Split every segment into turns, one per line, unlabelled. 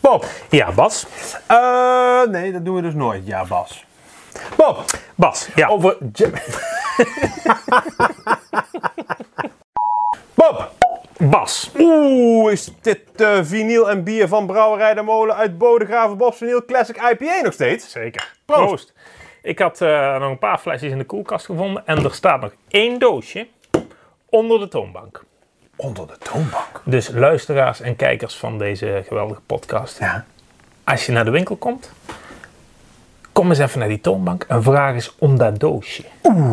Bob. Ja, Bas.
Eh, nee, dat doen we dus nooit. Ja, Bas.
Bob. Bas. Ja.
Over... Ja-
Bob. Bas.
Oeh, is dit eh vinyl en bier van Brouwerij de Molen uit Bodegraven Bob's Vinyl Classic IPA nog steeds?
Zeker.
Proost.
Ik had eh, nog een paar flesjes in de koelkast gevonden en er staat nog één doosje onder de toonbank.
Onder de toonbank.
Dus luisteraars en kijkers van deze geweldige podcast.
Ja.
Als je naar de winkel komt, kom eens even naar die toonbank en vraag eens om dat doosje.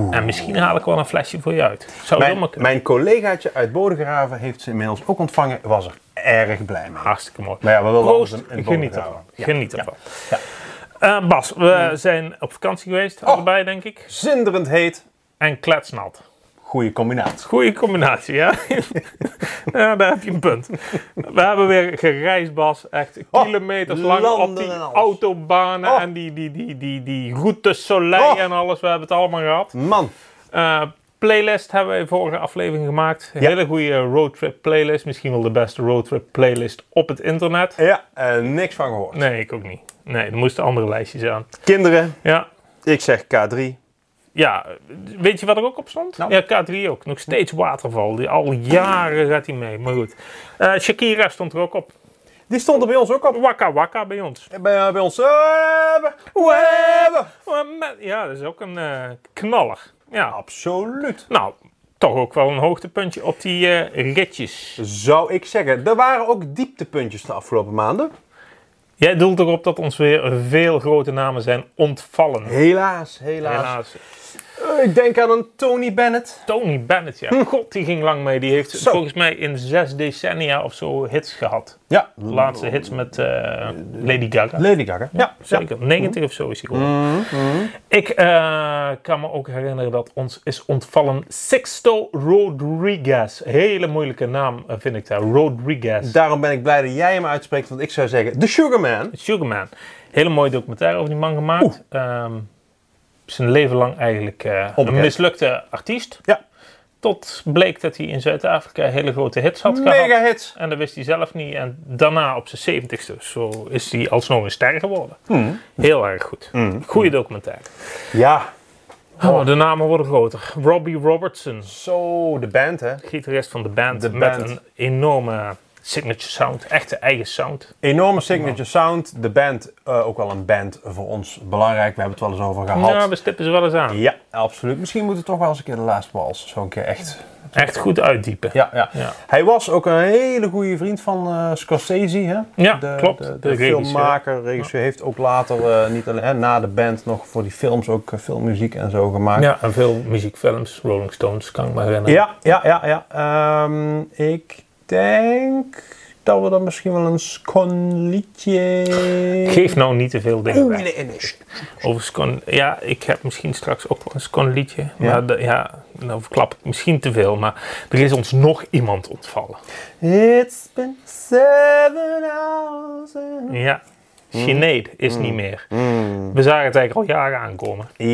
En misschien haal ik wel een flesje voor je uit. Zou
Mijn,
helemaal kunnen.
mijn collegaatje uit Bodegraven heeft ze inmiddels ook ontvangen. Was er erg blij mee.
Hartstikke mooi.
Maar Nou ja, we willen
Proost,
alles in- in het
geniet
boven
ervan.
houden. Ja.
Geniet ervan. Eh, Bas, we zijn op vakantie geweest,
Oh.
allebei denk ik.
Zinderend heet.
En kletsnat.
Goede combinatie.
Goeie combinatie, ja. ja daar heb je een punt. We hebben weer gereisd, Bas. Echt kilometers lang op
Oh, landen
die
en alles.
autobanen
Oh.
en die, die, die, die, die route Soleil
Oh.
en alles. We hebben het allemaal gehad.
Man.
Eh, playlist hebben we in vorige aflevering gemaakt. Hele goede roadtrip playlist. Misschien wel de beste roadtrip playlist op het internet.
Ja, eh, niks van gehoord.
Nee, ik ook niet. Nee, er moesten andere lijstjes aan.
Kinderen,
Ja,
ik zeg K3.
Ja, weet je wat er ook op stond?
Nou.
Ja, K3 ook. Nog steeds waterval. Die, al jaren gaat hij mee, maar goed. Eh, Shakira stond er ook op.
Die stond er bij ons ook op.
Waka Waka bij ons.
Bij, bij ons. eh, Web.
Eh, me- Ja, dat is ook een eh, knaller. Ja,
Absoluut.
nou, toch ook wel een hoogtepuntje op die eh, ritjes.
Zou ik zeggen. Er waren ook dieptepuntjes de afgelopen maanden.
Jij doelt erop dat ons weer veel grote namen zijn ontvallen.
Helaas, helaas.
Helaas.
Eh, ik denk aan een Tony Bennett.
Tony Bennett, ja. God, die ging lang mee. Die heeft
Zo.
volgens mij in zes decennia of zo hits gehad.
Ja.
De laatste hits met eh, Lady Gaga.
Lady Gaga. Ja, Mhm, ja.
Zeker, 90 of zo is hij geworden. Ik eh, kan me ook herinneren dat ons is ontvallen Sixto Rodriguez. Hele moeilijke naam eh, vind ik daar, Rodriguez.
Daarom ben ik blij dat jij hem uitspreekt, want ik zou zeggen The Sugar Man.
Sugarman. Hele mooie documentaire over die man gemaakt. Ehm, zijn leven lang eigenlijk eh, een
Onbekend.
mislukte artiest.
Ja.
Tot bleek dat hij in Zuid-Afrika hele grote hits had gehad.
Mega hits.
En dat wist hij zelf niet. En daarna op zijn zeventigste zo is hij alsnog een ster geworden.
Hmm.
Heel erg goed. Goede documentaire.
Ja.
Oh, de namen worden groter. Robbie Robertson,
Zo, de band hè.
gitarist van de band.
De
met
band.
een enorme signature sound. Echte eigen sound.
Enorme signature sound. De band, eh, ook wel een band voor ons belangrijk. We hebben het wel eens over gehad.
Ja, we stippen ze wel eens aan.
Ja, absoluut. Misschien moeten we toch wel eens een keer de laatste wals. Zo'n keer echt.
Echt goed uitdiepen.
Ja, ja.
Ja.
Hij was ook een hele goede vriend van eh, Scorsese. Hè?
Ja, klopt.
De, de
De regisseur.
filmmaker, regisseur. Heeft ook later, eh, niet alleen hè, na de band, nog voor die films ook eh, filmmuziek en zo gemaakt.
Ja, en veel muziekfilms. Rolling Stones, kan ik me herinneren.
Ja, ja, ja. ja. Ehm, ik denk dat we dan misschien wel een skonliedje...
Geef nou niet te veel dingen
Oeh,
weg.
nee, nee. sst.
Over scon, ja, ik heb misschien straks ook wel een scon liedje. Maar ja,
Ja.
ja nou verklap ik misschien te veel. Maar er is ons nog iemand ontvallen.
It's been seven hours and-
Ja,
Hmm.
Sinead is niet meer. We zagen het eigenlijk al jaren aankomen.
Ja,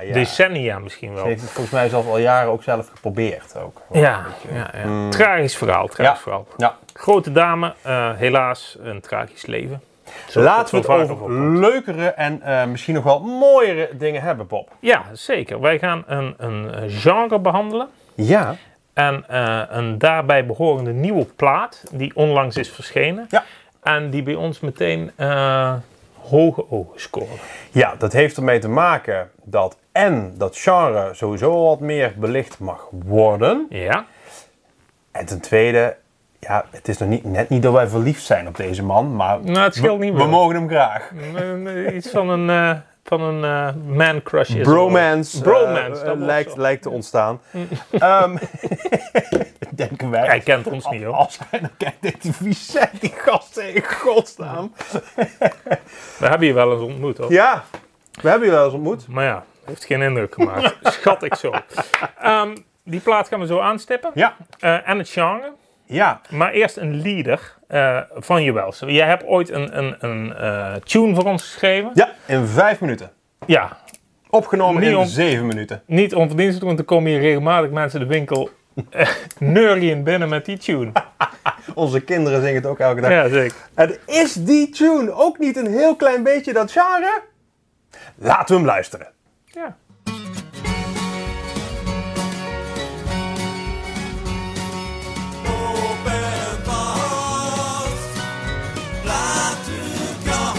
ja.
dus- Decennia misschien wel.
Ze heeft het volgens mij zelf al jaren ook zelf geprobeerd. Ook.
Ja, ja, ja. tragisch verhaal. Tragisch
Hmm. Ja.
verhaal.
Ja.
Grote dame, eh, helaas een tragisch leven. Zoals
Laten we
dat
het
zo vaker
over
voorkomt.
leukere en eh, misschien nog wel mooiere dingen hebben, Bob.
Ja, zeker. Wij gaan een, een eh, genre behandelen.
Ja.
En eh, een daarbij behorende nieuwe plaat die onlangs is verschenen.
Ja.
En die bij ons meteen eh, hoge ogen scoren.
Ja, dat heeft ermee te maken dat en dat genre sowieso al wat meer belicht mag worden.
Ja,
En ten tweede, ja, het is nog niet, net niet dat wij verliefd zijn op deze man, maar
nou het scheelt niet
we
meer.
mogen hem graag.
Eh, Iets van een, eh, van een eh, man crush. is er wel.
Bromance,
Bromance, dat
eh,
wordt
lijkt,
zo. Mm.
lijkt te ontstaan. Ehm, denken wij.
Hij kent ons niet hoor.
Als hij dan kijkt, denkt hij, wie zijn die gasten in godsnaam?
We hebben je wel eens ontmoet hoor.
Ja, we hebben je wel eens ontmoet.
Maar ja, heeft geen indruk gemaakt. Schat ik zo. Ehm, die plaat gaan we zo aanstippen.
Ja,
Eh, en het genre.
ja.
Maar eerst een lieder eh, van je Wels. Jij hebt ooit een, een, een eh, tune voor ons geschreven.
Ja, in vijf minuten.
Ja,
Opgenomen
Niet
in
om-
zeven minuten.
niet onverdienstelijk, want er komen hier regelmatig mensen de winkel eh neurien binnen met die tune.
Onze kinderen zingen het ook elke dag.
Ja, zeker.
Het is die tune ook niet een heel klein beetje dat genre? Laten we hem luisteren.
Ja.
Open pas, laat u gaan.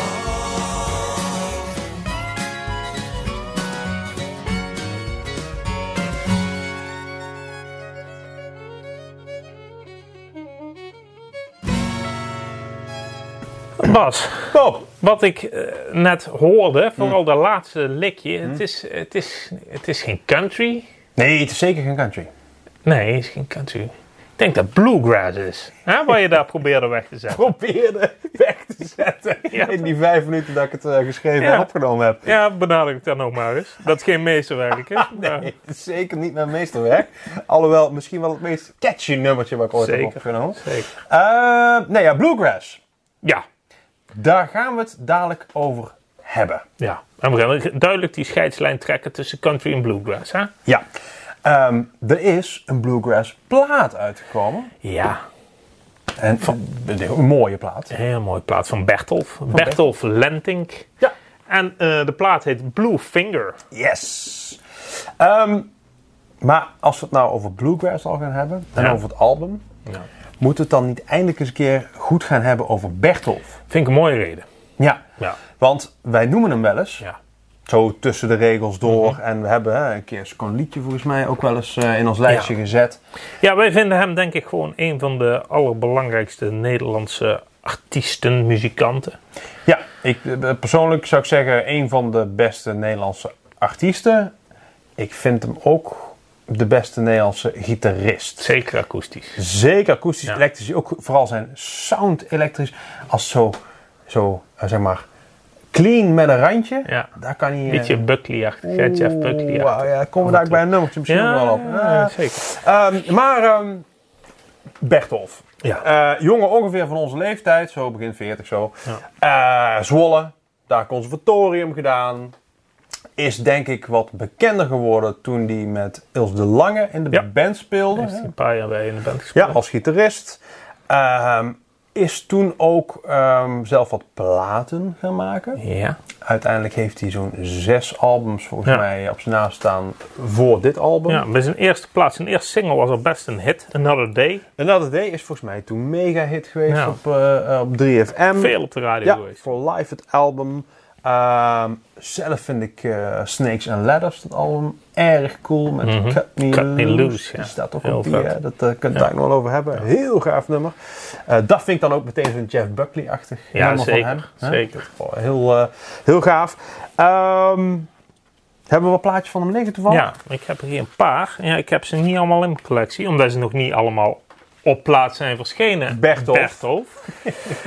Bas,
Oh,
wat ik eh, net hoorde,
Hm.
vooral de laatste likje, het, is, het, is, het is geen country.
nee, het is zeker geen country.
Nee, het is geen country. Ik denk dat bluegrass is, hè, waar je daar probeerde weg te zetten.
Probeerde weg te zetten
Ja.
in die vijf minuten dat ik het eh, geschreven
Ja.
en opgenomen heb.
Ja, benadruk dat nou maar eens. Dat het geen meesterwerk is. maar-
Ah, Nee, het is zeker niet mijn meesterwerk. Alhoewel, misschien wel het meest catchy nummertje wat ik ooit heb
Zeker.
opgenomen.
Zeker.
Eh, nee, ja, Bluegrass.
Ja,
Daar gaan we het dadelijk over hebben.
ja. En we gaan duidelijk die scheidslijn trekken tussen country en bluegrass, hè?
Ja. Ehm, er is een Bluegrass plaat uitgekomen.
Ja,
En, een mooie plaat.
een heel mooi plaat van Bertolf. Bertolf Lentink.
Ja.
En eh, de plaat heet Blue Finger.
Yes. Ehm, maar als we het nou over Bluegrass al gaan hebben en
Ja.
over het album,
Ja.
moeten we het dan niet eindelijk eens een keer goed gaan hebben over Bertolf?
Vind ik een mooie reden.
Ja.
Ja.
Want wij noemen hem wel eens,
Ja. Mhm.
zo tussen de regels door, en we hebben hè, een keer een liedje volgens mij ook wel eens eh, in ons lijstje
Ja.
gezet.
Ja, wij vinden hem denk ik gewoon een van de allerbelangrijkste Nederlandse artiesten, muzikanten.
Ja, ik, eh, persoonlijk zou ik zeggen een van de beste Nederlandse artiesten. Ik vind hem ook de beste Nederlandse gitarist.
Zeker akoestisch.
Zeker akoestisch,
Ja.
elektrisch. Ook vooral zijn sound elektrisch. Als zo, zo eh, zeg maar, clean met een randje.
Ja.
Daar kan hij... eh,
Beetje Buckley-achtig, hè? Jeff
oeh,
Buckley-achtig.
wauw, ja, komen we daar bij een nummertje misschien nog wel op.
ja, zeker.
Ja. Ehm, maar ehm Bertolf.
Ja.
Eh, jongen ongeveer van onze leeftijd, zo begin 40 zo. Eh, Zwolle, daar conservatorium gedaan. Is denk ik wat bekender geworden toen hij met Ilse de Lange in de
Ja.
band speelde.
Heeft
hè.
hij een paar jaar bij in de band
Ja,
gespeeld.
als gitarist. Ehm, is toen ook ehm, zelf wat platen gaan maken.
Ja.
Uiteindelijk heeft hij zo'n zes albums volgens
Ja.
mij op zijn naam staan voor dit album.
Ja, bij zijn eerste plaats, zijn eerste single was al best een hit, Another Day.
Another Day is volgens mij toen mega hit geweest
Ja.
op, eh, eh, op 3FM.
Veel op de radio
ja,
geweest.
voor Live het album. Ehm, zelf vind ik eh, Snakes and Ladders, dat album, erg cool. Met
Mhm.
Cut Me
Cut Me
Loose.
Loose, ja.
Die staat ook
Heel
op die,
vet.
hè? dat eh, kunnen we het daar nog wel over hebben. Heel gaaf nummer. Eh, dat vind ik dan ook meteen zo'n Jeff Buckley-achtig
Ja,
nummer
zeker,
van hem. hè?
zeker.
Oh, heel, eh, heel gaaf. Ehm, hebben we een plaatje van hem liggen toevallig?
Ja, ik heb er hier een paar. Ja, ik heb ze niet allemaal in mijn collectie, omdat ze nog niet allemaal op plaats zijn verschenen.
Bertolf.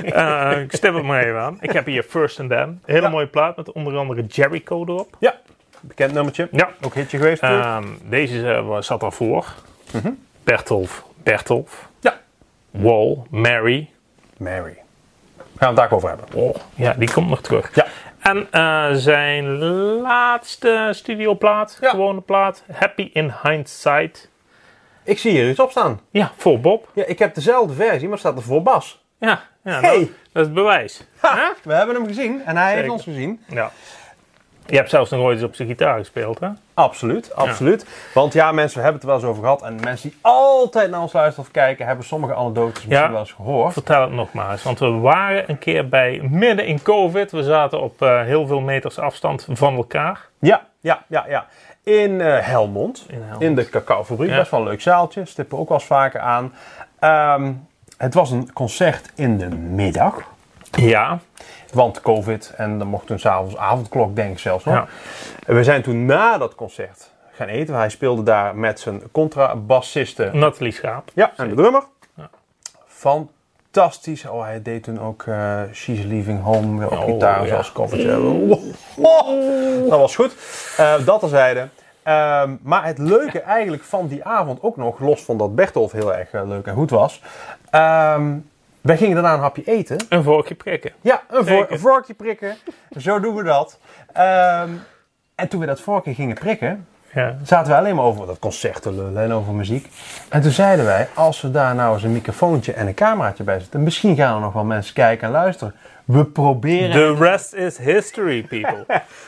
Eh, ik stem het maar even aan. Ik heb hier First and Then. Hele
Ja.
mooie plaat met onder andere Jericho erop.
Ja, bekend nummertje.
Ja.
Ook hitje geweest. natuurlijk.
Ehm, deze eh, zat daarvoor.
Mhm.
Bertolf, Bertolf,
ja.
Wall, Mary.
Mary. Gaan we het daar ook over hebben.
Oh, ja, die komt nog terug.
Ja.
En eh, zijn laatste studioplaat,
Ja.
gewone plaat, Happy in Hindsight.
Ik zie hier iets op staan.
Ja, voor Bob.
Ja, ik heb dezelfde versie, maar staat er voor Bas.
Ja, ja
Hey.
dat, dat is het bewijs. Hè?
We hebben hem gezien en hij heeft
Zeker.
ons gezien.
Ja. Je hebt zelfs nog ooit eens op zijn gitaar gespeeld, hè?
Absoluut, absoluut. Want ja, mensen, we hebben het er wel eens over gehad. En mensen die altijd naar ons luisteren of kijken, hebben sommige anekdotes misschien
Ja.
wel eens gehoord.
Vertel het nog maar eens, want we waren een keer bij midden in COVID. We zaten op eh, heel veel meters afstand van elkaar.
Ja, ja, ja, ja. In eh, Helmond, in,
In Helmond.
de cacaofabriek.
Ja.
Best wel een leuk zaaltje, stippen we ook wel eens vaker aan. Ehm, het was een concert in de middag.
Ja,
Want COVID en dan mocht toen s'avonds avondklok, denk ik zelfs nog.
Ja.
En we zijn toen na dat concert gaan eten. Hij speelde daar met zijn contrabassisten.
Nathalie Schaap.
Ja, en de drummer. Fantastisch. Oh, hij deed toen ook eh, She's Leaving Home weer op
Oh,
gitaar
ja.
zoals covertje. Oh, dat was goed. Eh, dat terzijde. Ehm maar het leuke eigenlijk van die avond ook nog, los van dat Bertolf heel erg eh, leuk en goed was. ehm, wij gingen daarna een hapje eten.
Een vorkje prikken.
Ja, een, vor-
Zeker.
een vorkje prikken. Zo doen we dat. Ehm, en toen we dat vorkje gingen prikken,
Ja.
zaten we alleen maar over dat concert te lullen en over muziek. En toen zeiden wij, als we daar nou eens een microfoontje en een cameraatje bij zetten, misschien gaan er nog wel mensen kijken en luisteren. We proberen.
The rest is history, people.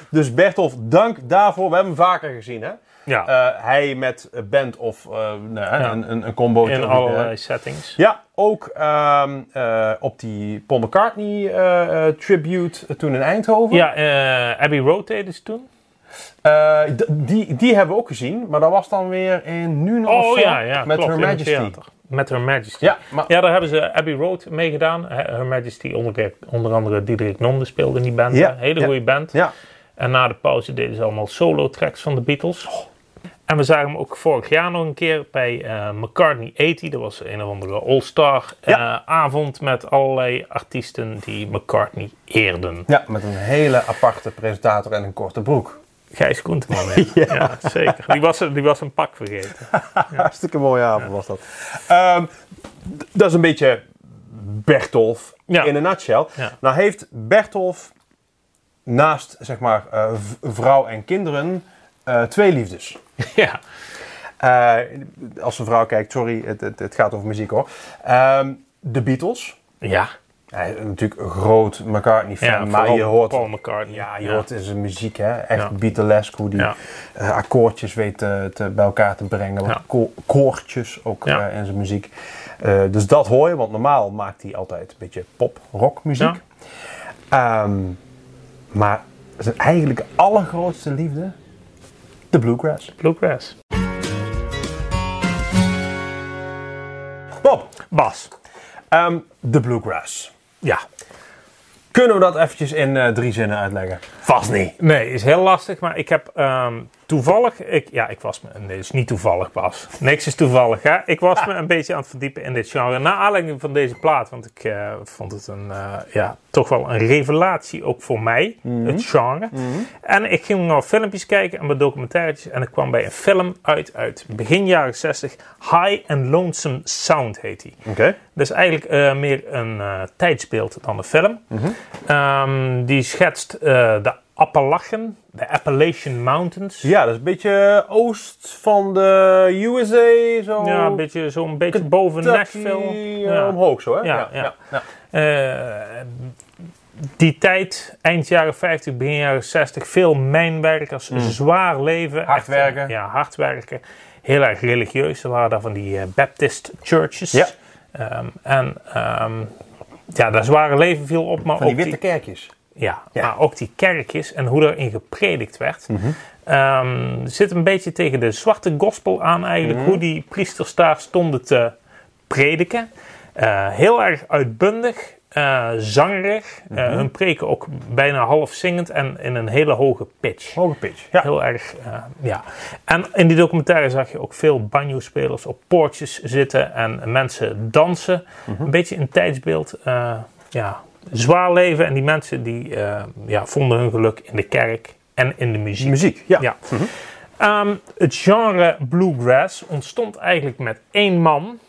Dus Bertolf, dank daarvoor. We hebben hem vaker gezien, hè?
Ja.
Eh, hij met een band of eh, nou, een, een, een combootje.
In
of-
allerlei settings.
Ja, ook ehm, eh, op die Paul McCartney eh, eh, tribute eh, toen in Eindhoven.
Ja, eh, Abbey Road deden ze toen.
Eh, d- die, die hebben we ook gezien, maar dat was dan weer in nu nog
Oh ja, ja.
met
klopt,
Her
in het
Majesty.
theater. Met Her Majesty.
Ja, maar
Ja, daar hebben ze Abbey Road mee gedaan. Her Her Majesty, onder, onder andere Diederik Nonde speelde in die band.
Ja,
hè. Hele
ja.
goede band.
ja.
En na de pauze deden ze allemaal solo tracks van de Beatles. En we zagen hem ook vorig jaar nog een keer bij eh, McCartney 80. Dat was een of andere all-star eh,
Ja.
avond met allerlei artiesten die McCartney eerden.
Ja, met een hele aparte presentator en een korte broek.
Gijs Koenteman. hè? ja. zeker. Die was, die was een pak vergeten.
Hartstikke mooie avond was dat. Ehm, d- dat is een beetje Bertolf
Ja.
in een nutshell.
Ja.
Nou heeft Bertolf naast zeg maar eh, v- vrouw en kinderen eh, twee liefdes.
ja.
Eh, als een vrouw kijkt, sorry, het, het, het gaat over muziek hoor. Ehm, de Beatles.
Ja.
Hij is natuurlijk een groot McCartney-fan,
ja
maar
vooral
je hoort...
Paul McCartney.
Ja, je hoort zijn muziek, hè. Echt
Ja.
Beatlesque, hoe die
Ja.
eh, akkoordjes weet te, te- bij elkaar te brengen. Wat
Ja.
ko- koortjes ook
Ja.
eh, in zijn muziek. Eh, dus dat hoor je, want normaal maakt hij altijd een beetje pop-rock muziek. Ehm, maar zijn eigenlijk allergrootste liefde, de bluegrass.
Bluegrass.
Bob,
Bas.
ehm, de bluegrass.
Ja.
Kunnen we dat eventjes in eh, drie zinnen uitleggen? Vast niet.
Nee, is heel lastig. Maar ik heb ehm, toevallig... Ik, ja, ik was me... Nee, is niet toevallig, Bas. Niks is toevallig, hè. Ik was me een beetje aan het verdiepen in dit genre. Naar aanleiding van deze plaat. Want ik eh, vond het een... eh, ja, toch wel een revelatie ook voor mij. Het genre. En ik ging nog filmpjes kijken en wat documentaires. En ik kwam bij een film uit uit begin jaren 60. High and Lonesome Sound heet die.
Oké.
Dat is eigenlijk eh, meer een eh, tijdsbeeld dan een film.
Mhm.
Ehm, die schetst eh, de Appalachen, de Appalachian Mountains.
Ja, dat is een beetje eh, oost van de USA, zo.
Ja, een beetje, zo'n beetje boven
Kentucky,
Nashville.
eh,
Ja.
Omhoog zo, hè?
Ja, ja.
ja.
Eh, die tijd, eind jaren 50, begin jaren 60, veel mijnwerkers, zwaar leven.
Mhm. Hard
Echt, eh,
werken.
Ja, hard werken. Heel erg religieus. Er waren daar van die eh, Baptist churches.
Ja.
Ehm, en ehm, ja, dat zware leven viel op, maar
Van die
ook
witte kerkjes.
Ja,
Ja.
maar ook die kerkjes en hoe erin gepredikt werd. Ehm, zit een beetje tegen de zwarte gospel aan eigenlijk. Hoe die priesters daar stonden te prediken. Eh, heel erg uitbundig, eh, zangerig. Eh, hun preken ook bijna half zingend en in een hele hoge pitch.
Hoge pitch. Ja.
Heel erg, eh, ja. En in die documentaire zag je ook veel banjo-spelers op poortjes zitten en mensen dansen.
Mhm.
Een beetje een tijdsbeeld, eh, ja, zwaar leven. En die mensen die eh, ja, vonden hun geluk in de kerk en in de muziek.
Muziek, ja. Mhm.
Ja. Ehm, het genre bluegrass ontstond eigenlijk met één man.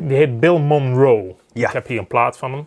Die heet Bill Monroe.
Mhm. Ja.
Ik heb hier een plaat van hem.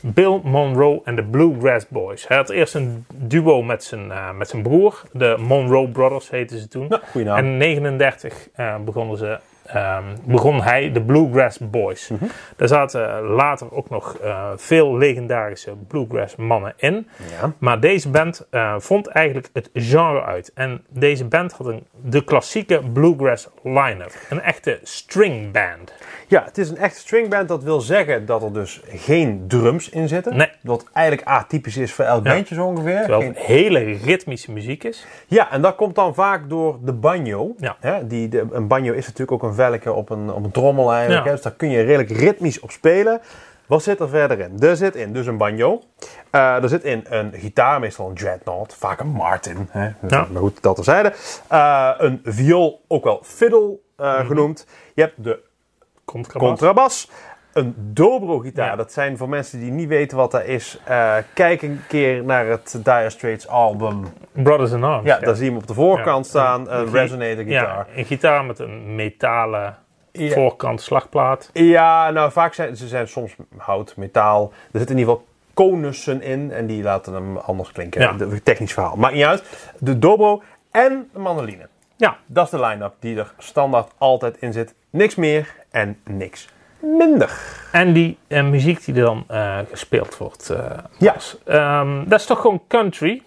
Bill Monroe en de Bluegrass Boys. Hij had eerst een duo met zijn, eh, met zijn broer. De Monroe Brothers heten ze toen.
Nou, goeie naam.
En in 1939 begonnen ze, ehm, begon hij de Bluegrass Boys.
Mhm.
Daar zaten later ook nog eh, veel legendarische Bluegrass mannen in.
Ja.
Maar deze band eh, vond eigenlijk het genre uit. En deze band had een, de klassieke Bluegrass line-up. Een echte string band.
ja, het is een echt stringband. Dat wil zeggen dat er dus geen drums in zitten.
Nee.
Wat eigenlijk atypisch is voor elk bandje zo ongeveer.
Terwijl
Geen-
het hele ritmische muziek is.
Ja, en dat komt dan vaak door de banjo.
Ja.
Hè, die, de, een banjo is natuurlijk ook een velken op een, op een trommel eigenlijk.
Ja.
Hè, dus daar kun je redelijk ritmisch op spelen. Wat zit er verder in? Er zit in dus een banjo. Eh er zit in een gitaar, meestal een dreadnought. Vaak een Martin. Hè?
Ja.
Maar goed, dat terzijde. Eh een viool, ook wel fiddle eh, genoemd. Je hebt de
Mhm. Contrabas.
contrabas. Een dobro-gitaar,
Ja.
dat zijn voor mensen die niet weten wat dat is. eh, kijk een keer naar het Dire Straits album.
Brothers in Arms.
Ja, daar zie je hem op de voorkant
Ja.
staan, een resonator
Ja,
gitaar.
een gitaar met een metalen
Ja.
voorkant slagplaat.
Ja. nou vaak zijn ze zijn soms hout, metaal. Er zitten in ieder geval konussen in en die laten hem anders klinken.
Ja.
De- Technisch verhaal. Maakt niet uit. De dobro en de mandoline.
Ja,
Dat is de line-up die er standaard altijd in zit. Niks meer en niks minder.
en die eh, muziek die dan eh, gespeeld wordt. eh,
Ja.
was. Ehm, dat is toch gewoon country?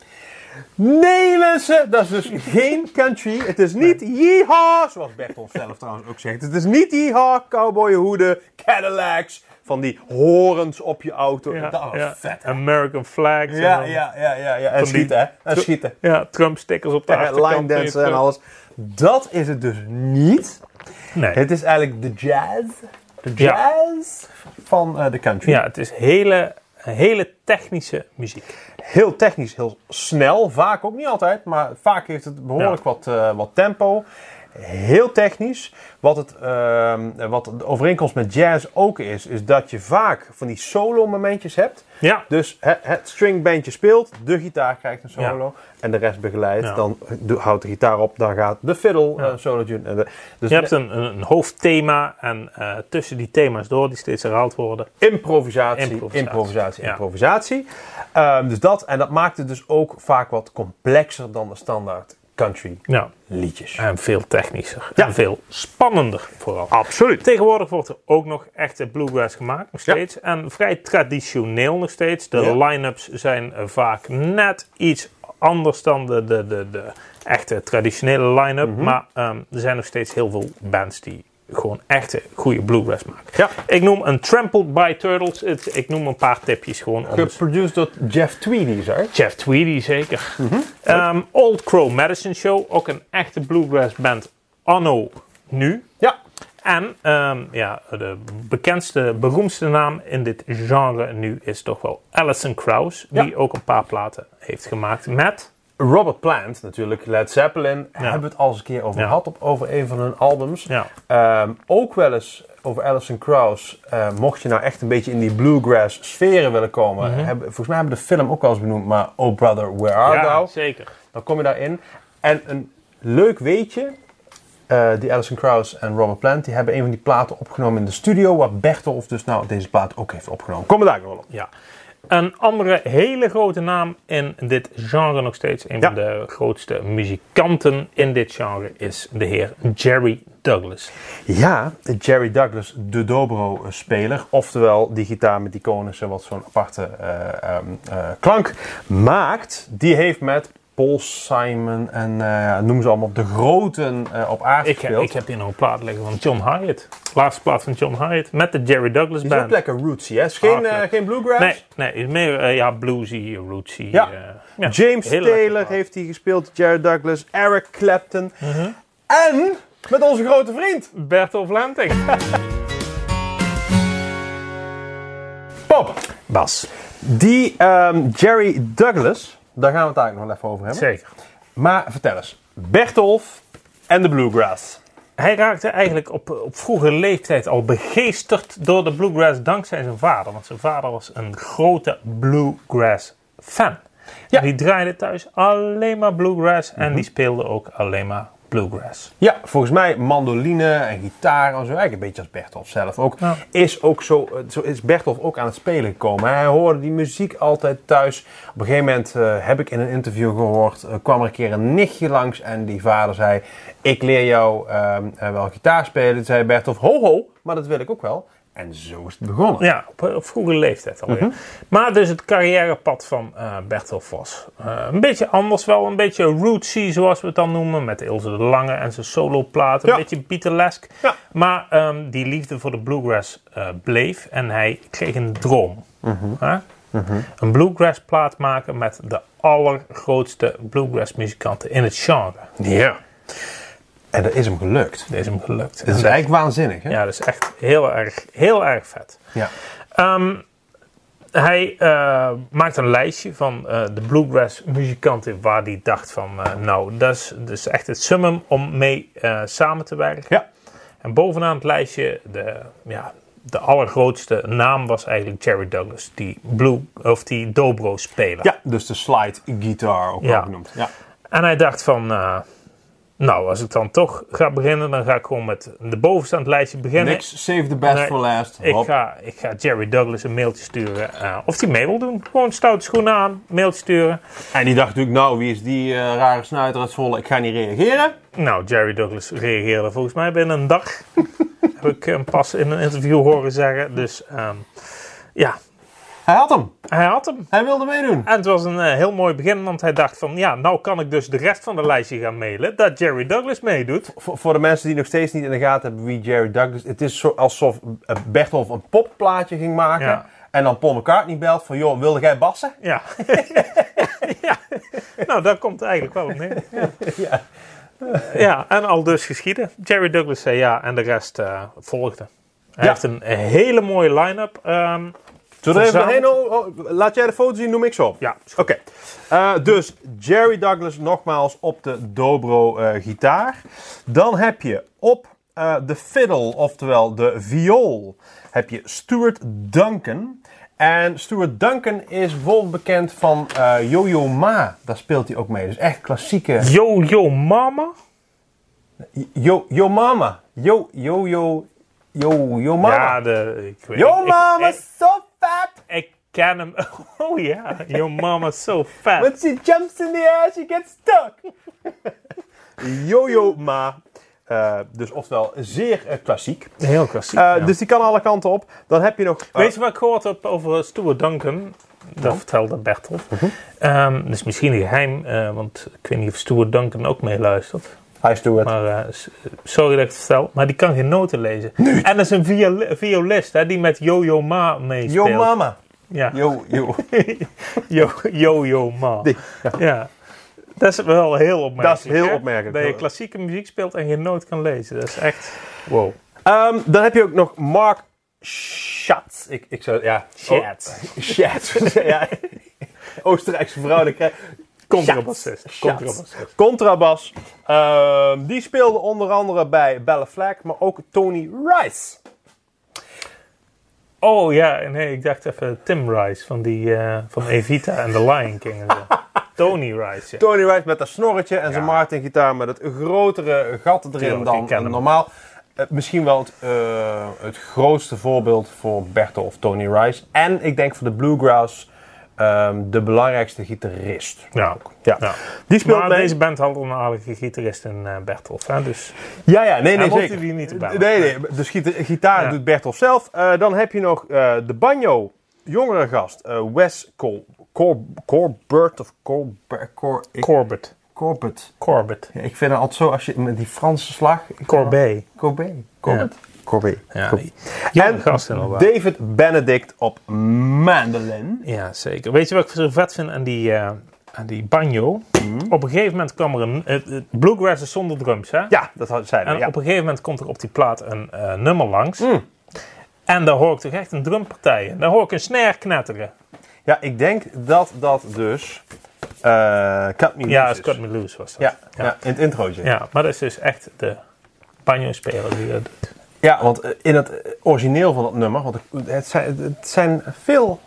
Nee mensen, dat is dus geen country. Het is niet yeehaw, zoals Bertolt zelf trouwens ook zegt. Het is niet yeehaw, cowboyhoeden, Cadillacs, van die horens op je auto. dat was Oh, vet. hè?
American flags. en
Ja,
dan-
ja, ja, ja, ja. En
Van die-
schieten, hè. En schieten.
Ja, Trump-stickers op de achterkant.
Line dansen en alles. Dat is het dus niet.
Nee.
Het is eigenlijk de jazz. De
Ja.
jazz van eh, de country.
Ja, het is hele, hele technische muziek.
Heel technisch, heel snel. Vaak ook niet altijd, maar vaak heeft het behoorlijk wat, eh, wat tempo. Heel technisch. Wat, het, ehm, wat de overeenkomst met jazz ook is, is dat je vaak van die solo-momentjes hebt.
Ja,
Dus hè, het stringbandje speelt, de gitaar krijgt een solo en de rest begeleidt.
Ja.
Dan do- houdt de gitaar op, dan gaat de fiddle eh, solo tune. En de- dus
je hebt een, een een hoofdthema en eh, tussen die thema's door die steeds herhaald worden.
improvisatie,
Improvisatie.
improvisatie, improvisatie.
Ja.
Ehm, dus dat, en dat maakt het dus ook vaak wat complexer dan de standaard country
Ja,
liedjes.
en veel technischer.
Ja.
En veel spannender vooral.
Absoluut.
Tegenwoordig wordt er ook nog echte bluegrass gemaakt, nog
Ja.
steeds. En vrij traditioneel nog steeds. De
Ja.
line-ups zijn eh, vaak net iets anders dan de, de, de, de echte traditionele line-up.
Mhm.
Maar ehm, er zijn nog steeds heel veel bands die gewoon echte goede bluegrass maken.
Ja.
Ik noem een Trampled by Turtles. Het- ik noem een paar tipjes gewoon. om eens-
Geproduced door Jeff Tweedy, zeg.
Jeff Tweedy zeker.
Mhm.
Ehm, Old Crow Medicine Show. Ook een echte bluegrass band. Anno nu.
Ja.
En ehm, ja, de bekendste, beroemdste naam in dit genre nu is toch wel Alison Krauss. Die
Ja.
ook een paar platen heeft gemaakt met...
Robert Plant, natuurlijk, Led Zeppelin. Hebben we het al eens een keer over
Ja.
gehad op, over een van hun albums.
Ja.
Ehm, ook wel eens over Alison Krauss. eh, mocht je nou echt een beetje in die bluegrass sferen willen komen.
Mhm.
hebben, volgens mij hebben we de film ook al eens benoemd. Maar Oh Brother, Where Art
ja,
Thou?
zeker.
Dan kom je daarin. En een leuk weetje. eh, die Alison Krauss en Robert Plant die hebben een van die platen opgenomen in de studio. Waar Bertolf dus nou deze plaat ook heeft opgenomen. Kom er daar nog wel op.
Ja. Een andere hele grote naam in dit genre nog steeds. Een
Ja.
van de grootste muzikanten in dit genre is de heer Jerry Douglas.
Ja, Jerry Douglas, de dobro-speler. Oftewel die gitaar met die konussen, wat zo'n aparte eh, ehm, eh, klank maakt. Die heeft met Paul Simon en eh, noem ze allemaal de groten eh, op aarde
Ik heb,
gespeeld.
ik heb hier nog een plaat liggen van John Hyatt. Laatste plaat van John Hyatt met de Jerry Douglas
die is ook
Band.
lekker rootsy, hè? Is geen, eh,
Hartelijk.
geen
Ah,
bluegrass.
Nee, nee, is meer eh, ja, bluesy, rootsy.
Ja.
eh, ja,
James
heel lekker
Taylor
plaat.
heeft hij gespeeld, Jerry Douglas, Eric Clapton.
Mhm.
En met onze grote vriend,
Bertolt Lenting.
Pop.
Bas.
Die ehm, Jerry Douglas, daar gaan we het eigenlijk nog even over hebben.
Zeker.
Maar vertel eens, Bertolf en de Bluegrass.
Hij raakte eigenlijk op, op vroege leeftijd al begeesterd door de bluegrass dankzij zijn vader. Want zijn vader was een grote bluegrass fan. En die draaide thuis alleen maar bluegrass en die speelde ook alleen maar bluegrass.
Ja, volgens mij mandoline en gitaar en zo. Eigenlijk een beetje als Bertolf zelf ook.
Ja.
Is ook zo, eh, zo is Bertolf ook aan het spelen gekomen. Hij hoorde die muziek altijd thuis. Op een gegeven moment eh, heb ik in een interview gehoord, eh, kwam er een keer een nichtje langs en die vader zei, ik leer jou ehm, eh, wel gitaar spelen. Toen zei Bertolf, ho ho, maar dat wil ik ook wel. En zo is het begonnen.
Ja, op, op vroege leeftijd alweer.
Mhm.
Maar dus het carrièrepad van eh Bertolf was eh, een beetje anders wel. Een beetje rootsy, zoals we het dan noemen. Met Ilse de Lange en zijn soloplaat. Een
Ja.
beetje Beatlesk.
Ja.
Maar ehm, die liefde voor de bluegrass eh, bleef. En hij kreeg een droom.
Mhm.
Hè? Een bluegrass plaat maken met de allergrootste bluegrass muzikanten in het genre.
Ja. En dat is hem gelukt.
Deze is hem gelukt.
Dat is eigenlijk waanzinnig, hè?
Ja, dat is echt heel erg, heel erg vet.
ja.
Ehm, hij eh, maakt een lijstje van eh, de bluegrass muzikanten waar hij dacht van, eh, nou, dat is, dat is echt het summum om mee eh, samen te werken.
Ja.
En bovenaan het lijstje, de, ja, de allergrootste naam was eigenlijk Jerry Douglas, die, blue, of die dobro speler.
Ja, dus de slide guitar ook
Ja.
wel genoemd. Ja.
En hij dacht van, eh, Nou, als ik dan toch ga beginnen, dan ga ik gewoon met de bovenstaand lijstje beginnen.
Niks, save the best
Nee.
for last.
Ik
Hop.
ga, ik ga Jerry Douglas een mailtje sturen eh, of die mee wil doen. Gewoon stoute schoenen aan, mailtje sturen.
En die dacht natuurlijk, nou, wie is die eh, rare snuiter uit Zwolle? Ik ga niet reageren.
Nou, Jerry Douglas reageerde volgens mij binnen een dag. Heb ik hem pas in een interview horen zeggen. Dus ehm, ja,
Hij had hem.
hij had hem.
Hij wilde meedoen.
En het was een eh, heel mooi begin, want hij dacht van... Ja, nou kan ik dus de rest van de lijstje gaan mailen dat Jerry Douglas meedoet.
Voor, voor de mensen die nog steeds niet in de gaten hebben wie Jerry Douglas... Het is zo, alsof eh, Bertolf een popplaatje ging maken...
Ja.
en dan Paul McCartney belt van... joh, wilde jij bassen?
Ja. ja. Nou, daar komt het eigenlijk wel op neer. Ja. Ja. en al dus geschieden. Jerry Douglas zei ja en de rest eh, volgde. Hij
Ja.
heeft een hele mooie line-up. ehm,
Zullen we er even
Verzameld.
doorheen? Oh, oh, laat jij de foto zien, noem ik ze op.
ja, is
Oké,
goed.
Eh, dus Jerry Douglas nogmaals op de dobro-gitaar. Dan heb je op eh, de fiddle, oftewel de viool, heb je Stuart Duncan. En Stuart Duncan is bijvoorbeeld bekend van eh Yo-Yo Ma. Daar speelt hij ook mee. Dus echt klassieke
Yo, yo, mama.
Yo, yo Mama. Yo, yo, yo, yo, yo Mama.
Ja, de, ik weet
Oh, yo
ik-
Mama,
Ik,
so fat.
ik, ik ken hem. Oh ja, yo mama's so fat.
When she jumps in the air, she gets stuck. Jojo Ma. Eh, dus oftewel zeer eh, klassiek.
Heel klassiek.
Eh, Dus die kan alle kanten op. Dan heb je nog... eh,
Weet je wat ik gehoord heb over Stuart Duncan? Dat vertelde Bertel. Ehm, dat is misschien een geheim, eh, want ik weet niet of Stuart Duncan ook meeluistert.
Hi Stuart.
Maar eh, s- sorry dat ik het vertel, maar die kan geen noten lezen. En dat is een viol- violist hè, die met Yo-Yo Ma meespeelt.
Yo Mama.
Ja.
Yo, yo.
Yo- Yo-Yo Ma.
Die,
ja. Dat is wel heel opmerkelijk.
Dat is heel
hè?
opmerkelijk.
Dat je klassieke muziek speelt en geen noot kan lezen. Dat is echt... Wow.
Ehm, dan heb je ook nog Mark Schatz. Ik, ik zou... Ja.
Shit.
Oh, Schatz. ja. Oostenrijkse vrouw. dan krijg-
Contrabassist.
Schatz.
Contrabassist.
Contrabas. Ehm, die speelde onder andere bij Bella Flag, maar ook Tony Rice.
Oh ja, nee, ik dacht even Tim Rice van, die, eh, van Evita en The Lion King. En zo. Tony Rice. ja.
Tony Rice met dat snorretje en zijn Martin-gitaar met het grotere gat erin
Tuurlijk, ik ken
dan
hem.
normaal. Eh, misschien wel het, eh, het grootste voorbeeld voor Bertel of Tony Rice. En ik denk voor de Bluegrass ehm, de belangrijkste gitarist.
Ja.
Ja.
Ja.
Die speelt
Maar
mee.
deze band had een aardige gitarist in eh Bertolf. Hè? Dus
Ja, ja, nee,
hij
nee,
mocht
zeker.
die niet erbij.
Nee, nee, dus gita- gitaar
Ja.
doet Bertolf zelf. Eh, dan heb je nog eh, de banjo, jongere gast, eh, Wes Col Cor Corbert of Colbert. Cor ik-
Corbett.
Corbett.
Corbett.
Ja, ik vind het altijd zo, als je met die Franse slag...
Corbet.
Corbett. Corbett. Corbett.
Ja.
Corbett.
Jonge
en
gasten al wel.
David Benedict op mandolin.
Ja, zeker. Weet je wat ik zo vet vind aan die, eh, aan die banjo?
Mhm.
Op een gegeven moment kwam er een... het- het bluegrass is zonder drums, hè?
Ja, dat had- zeiden
En
we. Ja. Mm.
op een gegeven moment komt er op die plaat een eh, nummer langs. En daar hoor ik toch echt een drumpartij in. Daar hoor ik een snare knetteren.
ja, ik denk dat dat dus eh Cut Me
Ja,
Loose
Scott
is.
Me Loose was dat.
Ja,
ja.
ja. in het introotje. Ja,
Ja, maar dat is dus echt de banjo-speler die dat doet.
want eh, in het eh, origineel van dat nummer, want ik- het zijn, het zijn veel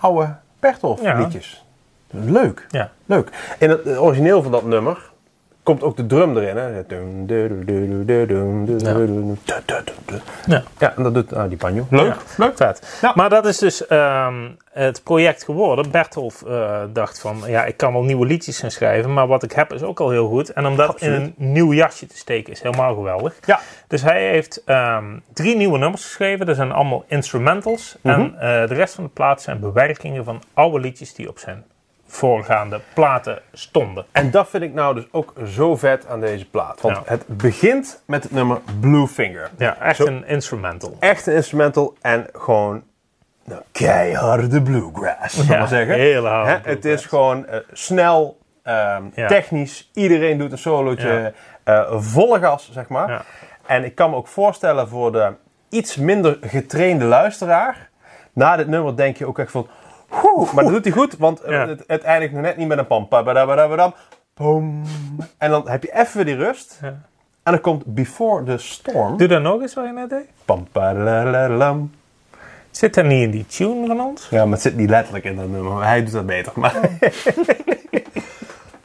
oude Bertolf
Ja.
liedjes. Leuk,
Ja.
leuk. In het eh, origineel van dat nummer komt ook de drum erin. Hè? Dum, du, du, du, du, dum, du, du, du, du, du, du, du.
Ja.
Ja, en dat doet ah, die banjo.
Leuk, leuk dat.
Ja.
Maar dat is dus ehm, het project geworden. Bertolf eh, dacht van, ja, ik kan wel nieuwe liedjes gaan schrijven, maar wat ik heb is ook al heel goed. En om dat in een nieuw jasje te steken is helemaal geweldig.
Ja.
Dus hij heeft ehm, drie nieuwe nummers geschreven. Dat zijn allemaal instrumentals.
Mhm.
En eh, de rest van de plaat zijn bewerkingen van oude liedjes die op zijn voorgaande platen stonden.
En dat vind ik nou dus ook zo vet aan deze plaat. Want
Ja.
het begint met het nummer Bluefinger.
Ja, echt
Zo.
een instrumental.
Echt een instrumental en gewoon nou, keiharde bluegrass, zal ik
Ja,
maar zeggen.
hele harde
Hè, Het
bluegrass.
is gewoon eh, snel, ehm,
Ja.
technisch. Iedereen doet een solootje. eh, volle gas, zeg maar.
Ja.
En ik kan me ook voorstellen voor de iets minder getrainde luisteraar. Na dit nummer denk je ook echt van... "Oeh," maar dat doet hij goed, want eh,
Ja.
het, het eindigt nog net niet met een pam. padabadabadam, pom. En dan heb je even die rust.
Ja.
En dan komt Before the Storm.
Doe dat nog eens wat je net deed.
Pam, padadadadam.
Zit dat niet in die tune van ons?
Ja, maar het zit niet letterlijk in dat nummer. maar Hij doet dat beter. Maar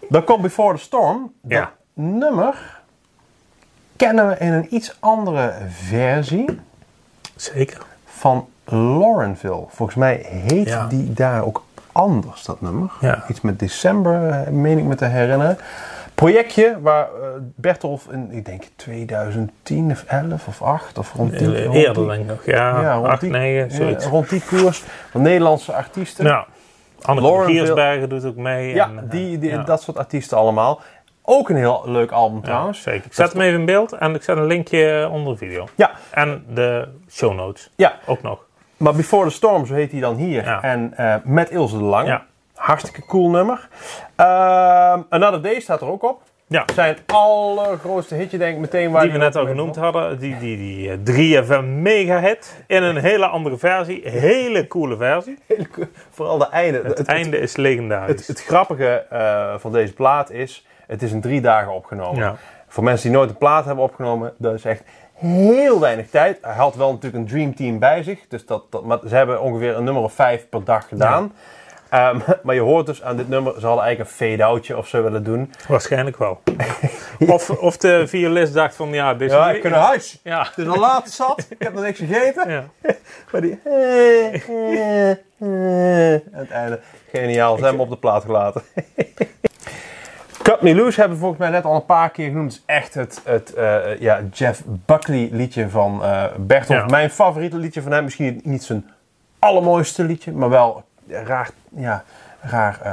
dan komt Before the Storm. Dat
Ja.
nummer kennen we in een iets andere versie
Zeker.
van Laurenville. Volgens mij heet
Ja.
die daar ook anders, dat nummer.
Ja.
Iets met december, eh, meen ik me te herinneren. Projectje waar eh, Bertolf in, ik denk 2010 of 11 of 8 of rond die... rond die-
Eh, Eerder denk ik nog. Ja,
Ja, rond
8,
die,
9,
ja,
zoiets.
rond die koers van Nederlandse artiesten.
nou, Anneke
Lauren
Giersbergen doet ook mee.
Ja,
en, eh,
die, die,
ja.
dat soort artiesten allemaal. Ook een heel leuk album
Ja,
trouwens.
zeker. Ik zet hem even in beeld en ik zet een linkje onder de video.
Ja,
En de show notes
ja.
ook nog.
Maar Before the Storm, zo heet hij dan hier.
Ja.
En eh, met Ilse de Lange.
Ja.
Hartstikke cool nummer. Ehm, Another Day staat er ook op.
Ja,
Zijn allergrootste hitje denk ik meteen waar
die we
hij
net
ook
al
mee
genoemd
begon.
hadden. Die, die, die eh, 3FM mega hit in een hele andere versie. Hele coole versie.
Hele cool. Vooral de einde. Het,
Het,
het,
einde is legendarisch.
het- het grappige eh, van deze plaat is, het is in drie dagen opgenomen.
ja.
Voor mensen die nooit een plaat hebben opgenomen, dat is echt heel weinig tijd. Hij had wel natuurlijk een Dream Team bij zich. Dus dat, dat, maar ze hebben ongeveer een nummer of vijf per dag gedaan. Ehm, maar je hoort dus aan dit nummer, ze hadden eigenlijk een fade-outje of zo willen doen.
Waarschijnlijk wel. Of, of de violist dacht van ja, dit is
Ja, ik kan naar huis.
Ja.
Het is al laat zat, ik heb nog niks gegeten.
Ja.
Maar die... eh, eh, eh, Aan het einde, geniaal, ze hebben hem op de plaat gelaten. Cut Me Loose hebben we volgens mij net al een paar keer genoemd. Het is echt het, het eh, ja, Jeff Buckley liedje van eh Bertolf.
Ja.
Mijn favoriete liedje van hem. Misschien niet zijn allermooiste liedje, maar wel raar, ja, raar, eh,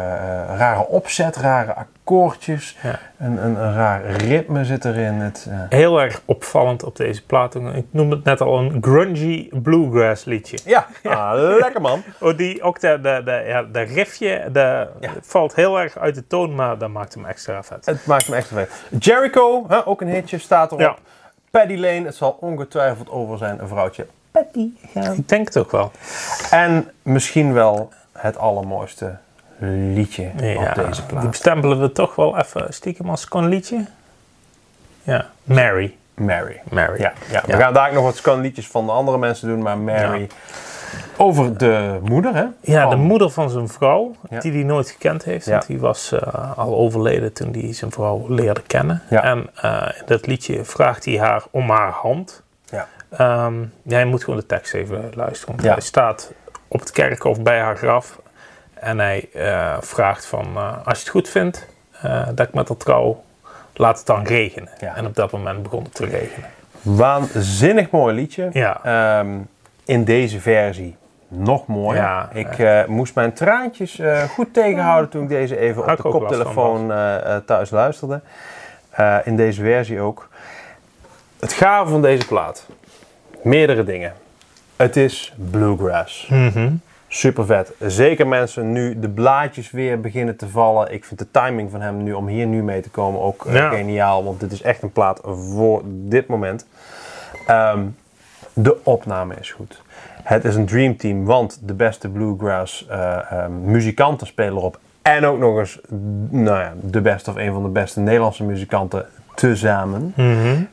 rare opzet, rare akkoordjes.
Ja.
Een, een, een raar ritme zit erin. Het, eh,
Heel erg opvallend op deze plaat. Ik noemde het net al een grungy bluegrass liedje.
Ja, ah, lekker man.
Oh, die, ook de, de, de, ja, de riffje de,
Ja.
valt heel erg uit de toon, maar dat maakt hem extra vet.
Het maakt hem echt vet. Jericho, hè, ook een hitje, staat erop.
Ja.
Paddy Lane, het zal ongetwijfeld over zijn vrouwtje. eh,
Ik denk het ook wel.
En misschien wel het allermooiste liedje
Ja,
op deze
Die
plaat.
bestempelen we toch wel even stiekem als kon liedje. Ja, Mary.
Mary.
Mary.
Ja, ja. we
Ja.
gaan daar nog wat scan liedjes van de andere mensen doen, maar Mary. Over de moeder, hè?
Ja, de
Van-
moeder van zijn vrouw,
Oh. Ja.
die hij nooit gekend heeft.
Ja.
Want die was eh, al overleden toen hij zijn vrouw leerde kennen.
Ja.
En eh, in dat liedje vraagt hij haar om haar hand.
Ja.
Ehm, ja, je moet gewoon de tekst even luisteren. Want
Ja.
Hij staat op het kerkhof bij haar graf. En hij eh, vraagt van, eh, als je het goed vindt, eh, dat ik met haar trouw, laat het dan regenen.
Ja.
En op dat moment begon het te regenen.
Waanzinnig mooi liedje.
Ja.
Ehm, in deze versie nog mooier.
Ja,
ik eh, moest mijn traantjes eh, goed tegenhouden toen ik deze even
Had
op
ik
de
ook last van,
koptelefoon eh, eh, thuis luisterde. Eh, in deze versie ook. Het gave van deze plaat. Meerdere dingen. Het is bluegrass. Super vet. Zeker mensen, nu de blaadjes weer beginnen te vallen. Ik vind de timing van hem nu om hier nu mee te komen ook eh,
Ja.
geniaal. Want dit is echt een plaat voor dit moment. Ehm, de opname is goed. Het is een dream team, want de beste bluegrass eh, eh, muzikanten spelen erop. En ook nog eens nou ja, de beste of een van de beste Nederlandse muzikanten tezamen.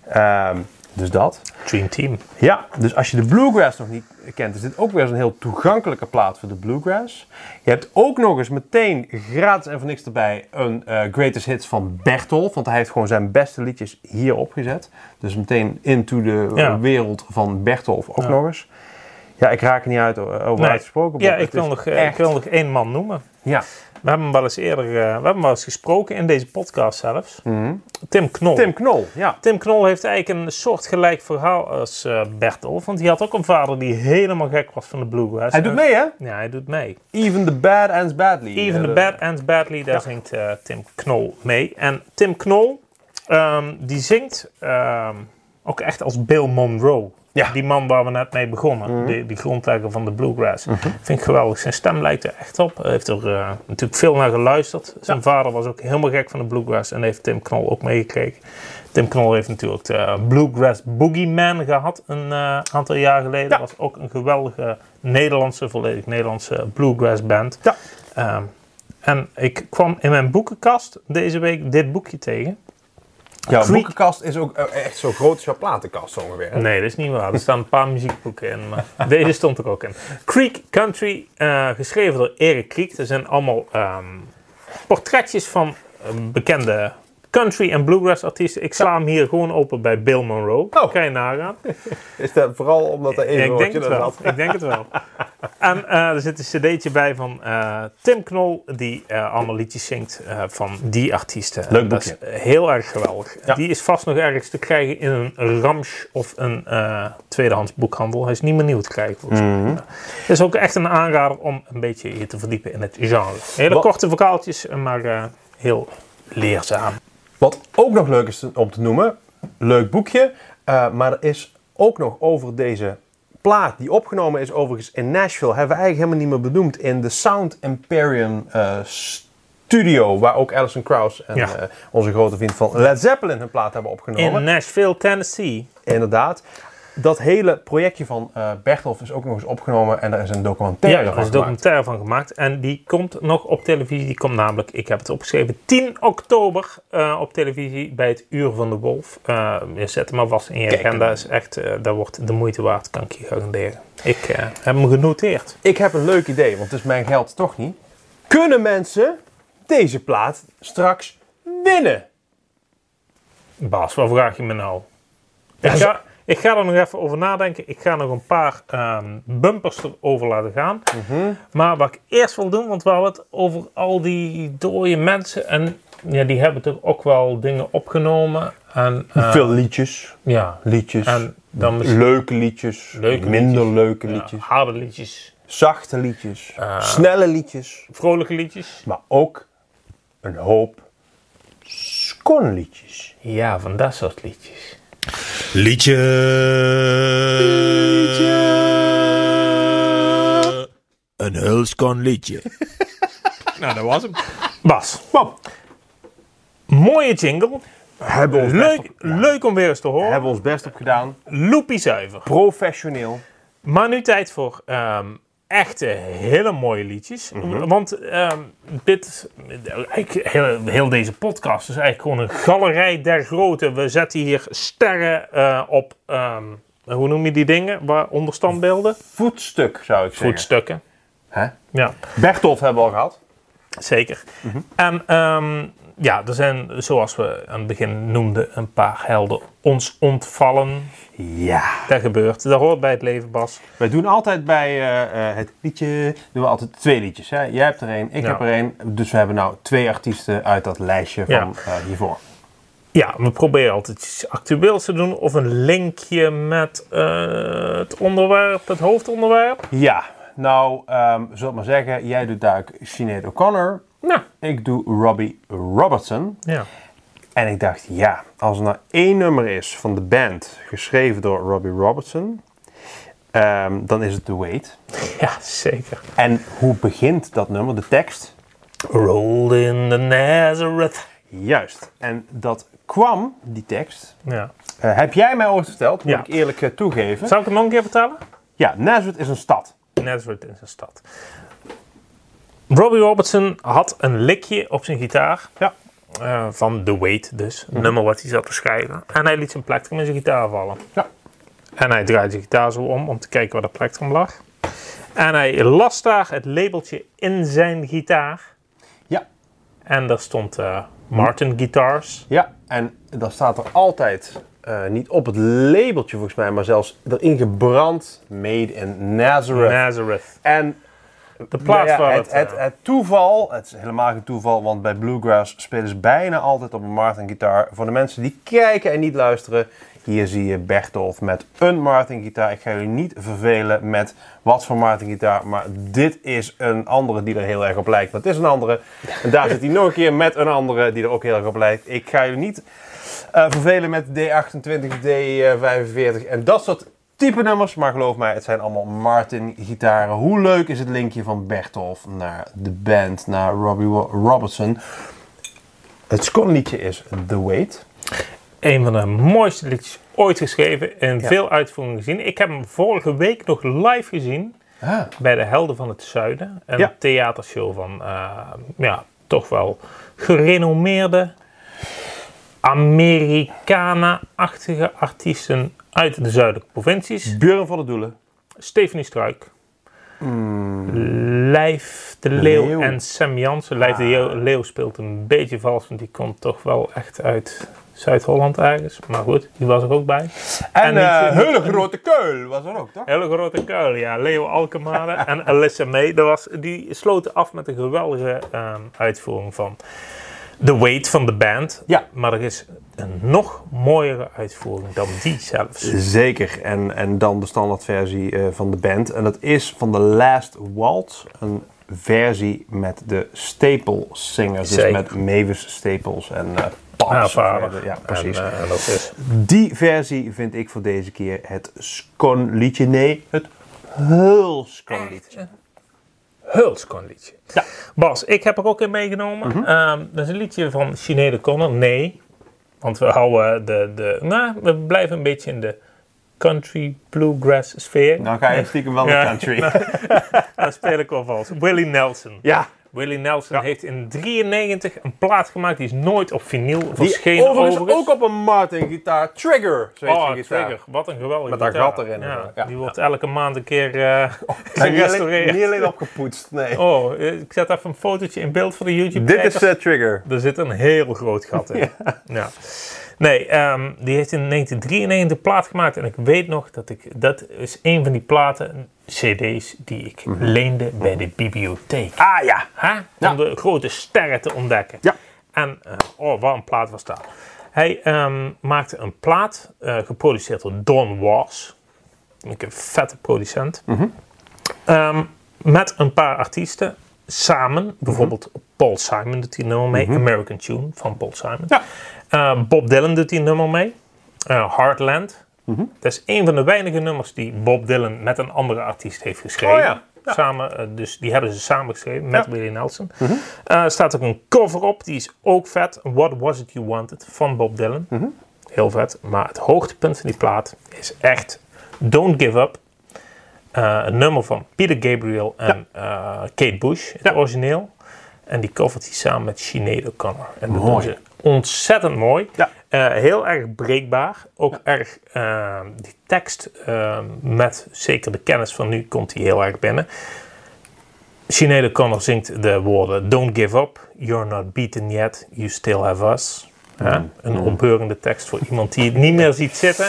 Ehm, dus dat.
Dream Team.
Ja, dus als je de bluegrass nog niet kent, is dit ook weer zo'n heel toegankelijke plaat voor de bluegrass. Je hebt ook nog eens meteen gratis en voor niks erbij een eh, greatest hits van Bertolf, want hij heeft gewoon zijn beste liedjes hierop gezet. Dus meteen into de
Ja.
wereld van Bertolf ook nog eens. Ja, ik raak er niet uit eh, over
Nee.
uitgesproken.
Nou, Ja,
Bob.
ik
Het
wil,
is
nog, eh, ik
echt-
wil nog één man noemen.
Ja,
We hebben hem wel eens eerder eh, we hebben hem wel eens gesproken in deze podcast zelfs. Tim Knol.
Mhm. Tim Knol, ja.
Tim Knol heeft eigenlijk een soortgelijk verhaal als eh Bertolf. Want die had ook een vader die helemaal gek was van de bluegrass.
Hij doet mee, hè?
Ja, hij doet mee.
Even the bad ends badly.
Even the
Eh,
Bad Ends Badly, daar zingt eh, Tim Knol mee. En Tim Knol, ehm, die zingt ehm, ook echt als Bill Monroe.
Ja. Mhm.
Die man waar we net mee begonnen, die, die grondlegger van de bluegrass. Vind ik geweldig. Zijn stem lijkt er echt op. Hij heeft er eh, natuurlijk veel naar geluisterd. Zijn vader was ook helemaal gek van de bluegrass en heeft Tim Knol ook meegekregen. Tim Knol heeft natuurlijk de Bluegrass Boogeyman gehad een eh, aantal jaar geleden. Dat was ook een geweldige Nederlandse, volledig Nederlandse bluegrass band.
Ja.
Ehm, en ik kwam in mijn boekenkast deze week dit boekje tegen.
Jouw
Creek.
boekenkast is ook eh, echt zo groot als jouw platenkast ongeveer. hè?
Nee, dat is niet waar. Er staan een paar muziekboeken in, maar deze stond er ook in. Creek Country, eh, geschreven door Erik Kriek. Er zijn allemaal ehm, portretjes van eh, bekende country en bluegrass artiesten. Ik sla hem hier gewoon open bij Bill Monroe.
Oh.
Kan je nagaan.
Is dat vooral omdat er
Ja,
één
ik denk
woordje
het
er
wel.
zat?
Ik denk het wel. En eh, er zit een cd'tje bij van eh, Tim Knol, die eh, allemaal liedjes zingt eh, van die artiesten.
Leuk
En dat is
boekje.
eh, heel erg geweldig.
Ja.
Die is vast nog ergens te krijgen in een Rams of een eh, tweedehands boekhandel. Hij is niet meer nieuw te krijgen volgens mij.
Mhm.
Ja. Het is ook echt een aanrader om een beetje je te verdiepen in het genre. Hele
Wat-
korte verhaaltjes, maar eh, heel leerzaam.
Wat ook nog leuk is te- om te noemen, leuk boekje, eh, maar er is ook nog over deze plaat, die opgenomen is overigens in Nashville, hebben we eigenlijk helemaal niet meer benoemd, in de Sound Empyrean eh, studio, waar ook Alison Krauss en
Ja.
eh, onze grote vriend van Led Zeppelin hun plaat hebben opgenomen.
In Nashville, Tennessee.
Inderdaad. Dat hele projectje van eh Bertolf is ook nog eens opgenomen en er is een
Ja,
documentaire
daar
van
is een
gemaakt.
documentaire van gemaakt. En die komt nog op televisie. Die komt namelijk, ik heb het opgeschreven, 10 oktober eh, op televisie bij het Uur van de Wolf. Eh, je zet hem maar vast in je
Kijk.
agenda. Is echt, eh dat wordt de moeite waard, kan ik je garanderen. Ik eh, heb hem genoteerd.
Ik heb een leuk idee, want het is mijn geld toch niet. Kunnen mensen deze plaat straks winnen?
Bas, wat vraag je me nou? Ik
zo-
ga, ik ga er nog even over nadenken. Ik ga nog een paar ehm, bumpers erover laten gaan.
Mhm.
Maar wat ik eerst wil doen, want we hadden het over al die dode mensen. En ja, die hebben toch ook wel dingen opgenomen. En, eh,
Veel liedjes.
Ja,
Liedjes.
en dan misschien
leuke liedjes.
Leuke
minder leuke liedjes.
liedjes. harde liedjes,
Zachte liedjes.
Eh.
snelle liedjes.
vrolijke liedjes.
Maar ook een hoop skonliedjes.
Ja, van dat soort liedjes.
Liedje. Een hulskon liedje. nou, dat was hem.
Bas, mooie jingle.
Hebben ons best
Leuk,
op,
leuk om weer eens te horen.
hebben ons best op gedaan.
Loepie zuiver.
Professioneel.
Maar nu tijd voor ehm, echte hele mooie liedjes. Want ehm, dit, eigenlijk heel, heel deze podcast is eigenlijk gewoon een galerij der grote. We zetten hier sterren eh, op, ehm, hoe noem je die dingen? Waar onderstandbeelden?
Voetstuk zou ik zeggen.
Voetstukken.
Hè?
Ja.
Bertolf hebben we al gehad.
Zeker. En ehm, ja, er zijn, zoals we aan het begin noemden, een paar helden ons ontvallen.
Ja.
Dat gebeurt. Dat hoort bij het leven, Bas.
Wij doen altijd bij
eh, eh, het liedje doen we altijd twee liedjes. Hè? Jij hebt er één, ik
Ja.
heb er één. Dus we hebben nou twee artiesten uit dat lijstje van
Ja.
eh, hiervoor.
Ja, we proberen altijd iets actueels te doen. Of een linkje met eh, het onderwerp, het hoofdonderwerp.
Ja, nou, ehm zullen we maar zeggen, jij doet duik Sinead O'Connor.
Nou,
Ik doe Robbie Robertson.
ja.
En ik dacht, ja, als er nou één nummer is van de band geschreven door Robbie Robertson, ehm, dan is het The Wait.
Ja, zeker.
En hoe begint dat nummer, de tekst?
Rolled in the Nazareth.
Juist. En dat kwam, die tekst,
Ja.
eh, heb jij mij ooit verteld, moet
Ja.
ik eerlijk eh, toegeven.
Zal ik het nog een keer vertellen?
Ja, Nazareth is een stad.
Nazareth in zijn stad. Robbie Robertson had een likje op zijn gitaar.
Ja.
Eh, van The Wait dus. Het nummer wat hij zat te schrijven. En hij liet zijn plektrum in zijn gitaar vallen.
Ja.
En hij draaide zijn gitaar zo om, om te kijken waar dat plektrum lag. En hij las daar het labeltje in zijn gitaar.
Ja.
En daar stond eh, Martin Guitars.
Ja, en dan staat er altijd, eh, niet op het labeltje volgens mij, maar zelfs erin gebrand, made in Nazareth.
Nazareth.
En
De plaats
Nou ja,
waar
het,
het...
het,
eh,
het toeval, het is helemaal geen toeval, want bij Bluegrass spelen ze bijna altijd op een Martin-gitaar. Voor de mensen die kijken en niet luisteren, hier zie je Bertolf met een Martin-gitaar. Ik ga jullie niet vervelen met wat voor Martin-gitaar, maar dit is een andere die er heel erg op lijkt. Dat is een andere. En daar zit hij nog een keer met een andere die er ook heel erg op lijkt. Ik ga jullie niet eh, vervelen met D28, D45 en dat soort type nummers. Maar geloof mij, het zijn allemaal Martin-gitaren. Hoe leuk is het linkje van Bertolf naar de band, naar Robbie Wo- Robertson. Het scornliedje is The Wait.
een van de mooiste liedjes ooit geschreven en veel uitvoeringen gezien. Ik heb hem vorige week nog live gezien bij de Helden van het Zuiden. Een
Ja.
theatershow van eh, ja, toch wel gerenommeerde Americana-achtige artiesten uit de zuidelijke
Mm.
provincies.
Buren van de Doelen.
Stephanie Struik, Lijf de Leeuw,
Leeuw.
en Sam Jansen. Lijf de Leeuw- Leeuw speelt een beetje vals, want die komt toch wel echt uit Zuid-Holland ergens. Maar goed, die was er ook bij.
En,
niet-
eh Hele Grote Keul was er ook, toch?
Hele grote kuil, ja. Leo Alkemade en Alyssa May. Dat was, die sloten af met een geweldige ehm, uitvoering van The Weight van de band.
Ja.
Maar er is een nog mooiere uitvoering dan die zelfs.
Zeker. En, en dan de standaardversie eh, van de band. En dat is van The Last Waltz. Een versie met de Staple Singers.
Zeker.
Dus met Mavis Staples en eh Pops.
Ja,
of
vader.
verder. Ja, precies.
En, eh, en dat is
Die versie vind ik voor deze keer het skonliedje. Nee, het hulskonliedje.
Hulskon liedje. Ja. Bas, ik heb er ook in meegenomen.
Mhm.
Ehm, dat is een liedje van Sinead O'Connor. Nee, want we houden de, de... Nou, we blijven een beetje in de country bluegrass sfeer.
Nou ga je stiekem wel naar
Ja.
country.
Daar speel ik wel vals. Willie Nelson.
Ja.
Willie Nelson heeft in 93 een plaat gemaakt. Die is nooit op vinyl
Die
verschenen
overigens ook op een Martin gitaar. Trigger. Zweedse
Oh,
gitaar.
Trigger. Wat een geweldige
Met haar
gitaar.
gat erin en
Ja,
zo. Ja.
Die wordt elke maand een keer eh,
En niet alleen-
gerestaureerd.
Niet alleen opgepoetst, nee.
Oh, eh, ik zet even een fotootje in beeld voor de YouTube
Dit is eh, Trigger.
Er zit een heel groot gat in. ja. Nee, ehm, die heeft in 1993 een plaat gemaakt. En ik weet nog dat ik... Dat is een van die platen, cd's, die ik
Mhm.
leende bij de bibliotheek.
Ah ja.
Hè? Om de grote sterren te ontdekken.
Ja.
En, eh, oh, wat een plaat was dat. Hij ehm, maakte een plaat, eh, geproduceerd door Don Was. Een vette producent.
Mhm.
Ehm, met een paar artiesten samen. Bijvoorbeeld
Mhm.
Paul Simon doet die nummer mee. American Tune van Paul Simon. Eh, Bob Dylan doet die nummer mee. Eh, Heartland.
Mhm.
Dat is een van de weinige nummers die Bob Dylan met een andere artiest heeft geschreven.
Oh ja, Mhm.
Samen, eh, dus die hebben ze samen geschreven met Willie Nelson. Eh, Er staat ook een cover op, die is ook vet. What Was It You Wanted van Bob Dylan.
Mhm.
Heel vet. Maar het hoogtepunt van die plaat is echt Don't Give Up. Eh, een nummer van Peter Gabriel en eh, Kate Bush, het origineel. En die covert hij samen met Sinead O'Connor. En dat doen ze ontzettend mooi.
Ja.
Eh, heel erg breekbaar. Ook erg eh, die tekst eh, met zeker de kennis van nu komt hij heel erg binnen. Sinead O'Connor zingt de woorden Don't give up, you're not beaten yet, you still have us. Hè?
Mm.
Een opbeurende tekst voor iemand die het niet meer ziet zitten.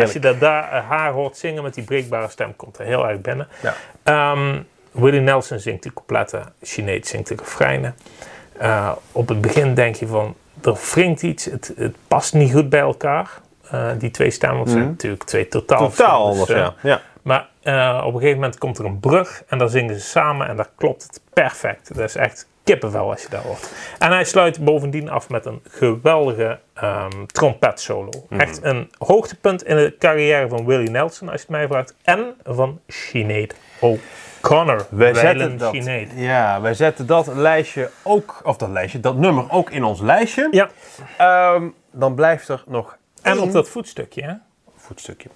Als je dat daar, eh, haar hoort zingen met die breekbare stem, komt er heel erg binnen.
Ja.
Ehm, Willie Nelson zingt de coupletten, Sinead zingt de refreinen. Eh, op het begin denk je van, er wringt iets, het, het past niet goed bij elkaar. Eh, die twee stemmen want het zijn natuurlijk twee totaal
Mhm. Totaal
verschillende
anders, ja.
stemmen.
ja.
Maar eh, op een gegeven moment komt er een brug en dan zingen ze samen en daar klopt het perfect. Dat is echt kippenvel als je dat hoort. En hij sluit bovendien af met een geweldige ehm trompetsolo.
Mhm.
Echt een hoogtepunt in de carrière van Willie Nelson, als je het mij vraagt. En van Sinead O'Connor.
Wij
Weilen
zetten, dat,
Sinead.
ja, wij zetten dat lijstje ook, of dat lijstje, dat nummer ook in ons lijstje.
Ja,
Ehm, dan blijft er nog
en
één
op dat voetstukje, hè?
voetstukje.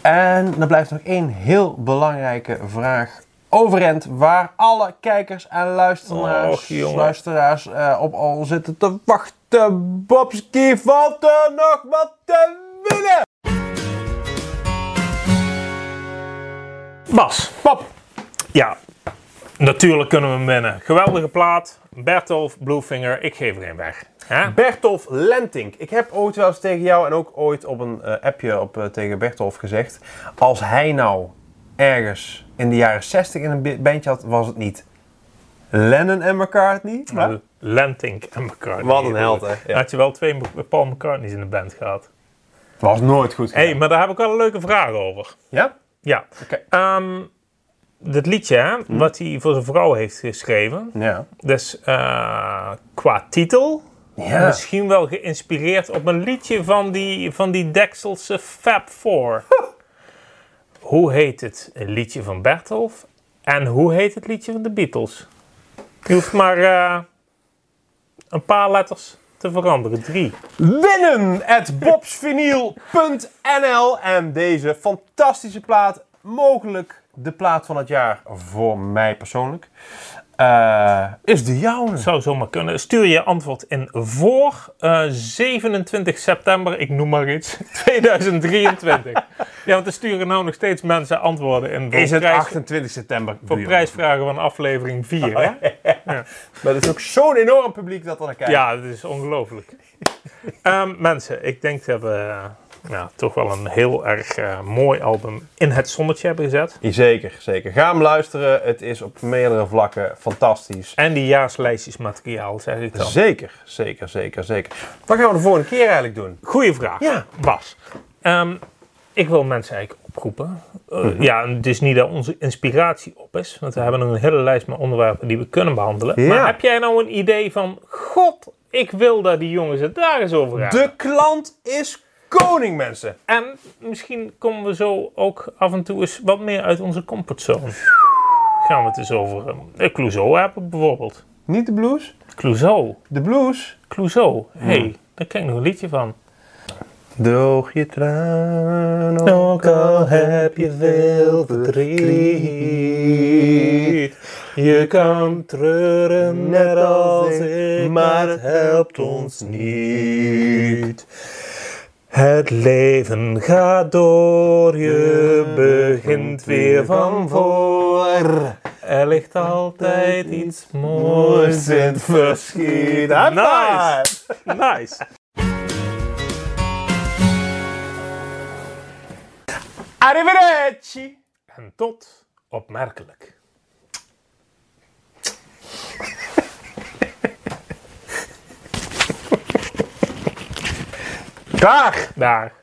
En dan blijft nog één heel belangrijke vraag overeind, waar alle kijkers en
Och,
luisteraars,
jongen.
luisteraars eh, op al zitten te wachten. Bobski, valt er nog wat te winnen?
Bas. Pap. Ja, natuurlijk kunnen we hem winnen. Geweldige plaat. Bertolf, Bluefinger, ik geef er een weg. Hè?
Bertolf Lentink. Ik heb ooit wel eens tegen jou en ook ooit op een eh, appje op, eh, tegen Bertolf gezegd. Als hij nou ergens in de jaren 60 in een bi- bandje had, was het niet Lennon en McCartney. Maar
L- Lentink en McCartney.
Wat een held, hè? Ja.
Had je wel twee M- Paul McCartneys in de band gehad.
was nooit goed.
Hé,
gedaan.
hey, maar daar heb ik wel een leuke vraag over.
Ja?
Ja.
Oké. Hm?
Ehm, dat liedje, hè, wat hij voor zijn vrouw heeft geschreven.
Ja.
Dus eh, qua titel,
Ja.
misschien wel geïnspireerd op een liedje van die, van die Dekselse Fab Four. hoe heet het liedje van Bertolf? En hoe heet het liedje van de Beatles? Je hoeft maar eh, een paar letters te veranderen. Drie.
Winnen at bobsvinyl.nl en deze fantastische plaat, mogelijk de plaat van het jaar voor mij persoonlijk. Ehm,
eh, is de jouwe.
Zou zomaar kunnen. Stuur je antwoord in voor eh, 27 september, ik noem maar iets, 2023. ja, want er sturen nou nog steeds mensen antwoorden in. Voor
Is het
prijs-
28 september?
Voor
Buur.
prijsvragen van aflevering 4, hè?
Maar dat is ook zo'n enorm publiek dat er naar kijkt.
Ja, dat is ongelooflijk. Ehm, mensen, ik denk dat we eh, ja, toch wel een heel erg eh, mooi album in het zonnetje hebben gezet.
Zeker, zeker. Ga hem luisteren. Het is op meerdere vlakken fantastisch.
En die jaarslijstjesmateriaal, zeg ik dan.
Zeker, zeker, zeker, zeker. Wat gaan we de volgende keer eigenlijk doen?
Goeie vraag,
Ja.
Bas. Ehm, ik wil mensen eigenlijk oproepen. Eh,
Mhm.
Ja, en het is niet dat onze inspiratie op is, want we hebben nog een hele lijst met onderwerpen die we kunnen behandelen.
Ja.
Maar heb jij nou een idee van, god, ik wil dat die jongens het daar eens over hebben.
De klant is koning, mensen.
En misschien komen we zo ook af en toe eens wat meer uit onze comfortzone. Gaan we het eens over ehm, eh, Clouseau hebben bijvoorbeeld.
Niet de blues,
Clouseau,
de blues.
Clouseau. Hé, hey, daar ken ik nog een liedje van.
Droog je tranen, ook al heb je veel verdriet.
Je kan treuren
Net als ik, maar het helpt ons niet.
Het leven gaat door, je begint weer van voor. Er ligt altijd iets moois
in het verschiet. High
Nice.
five!
Nice.
Arrivederci!
En tot opmerkelijk.
Dag!
Daar.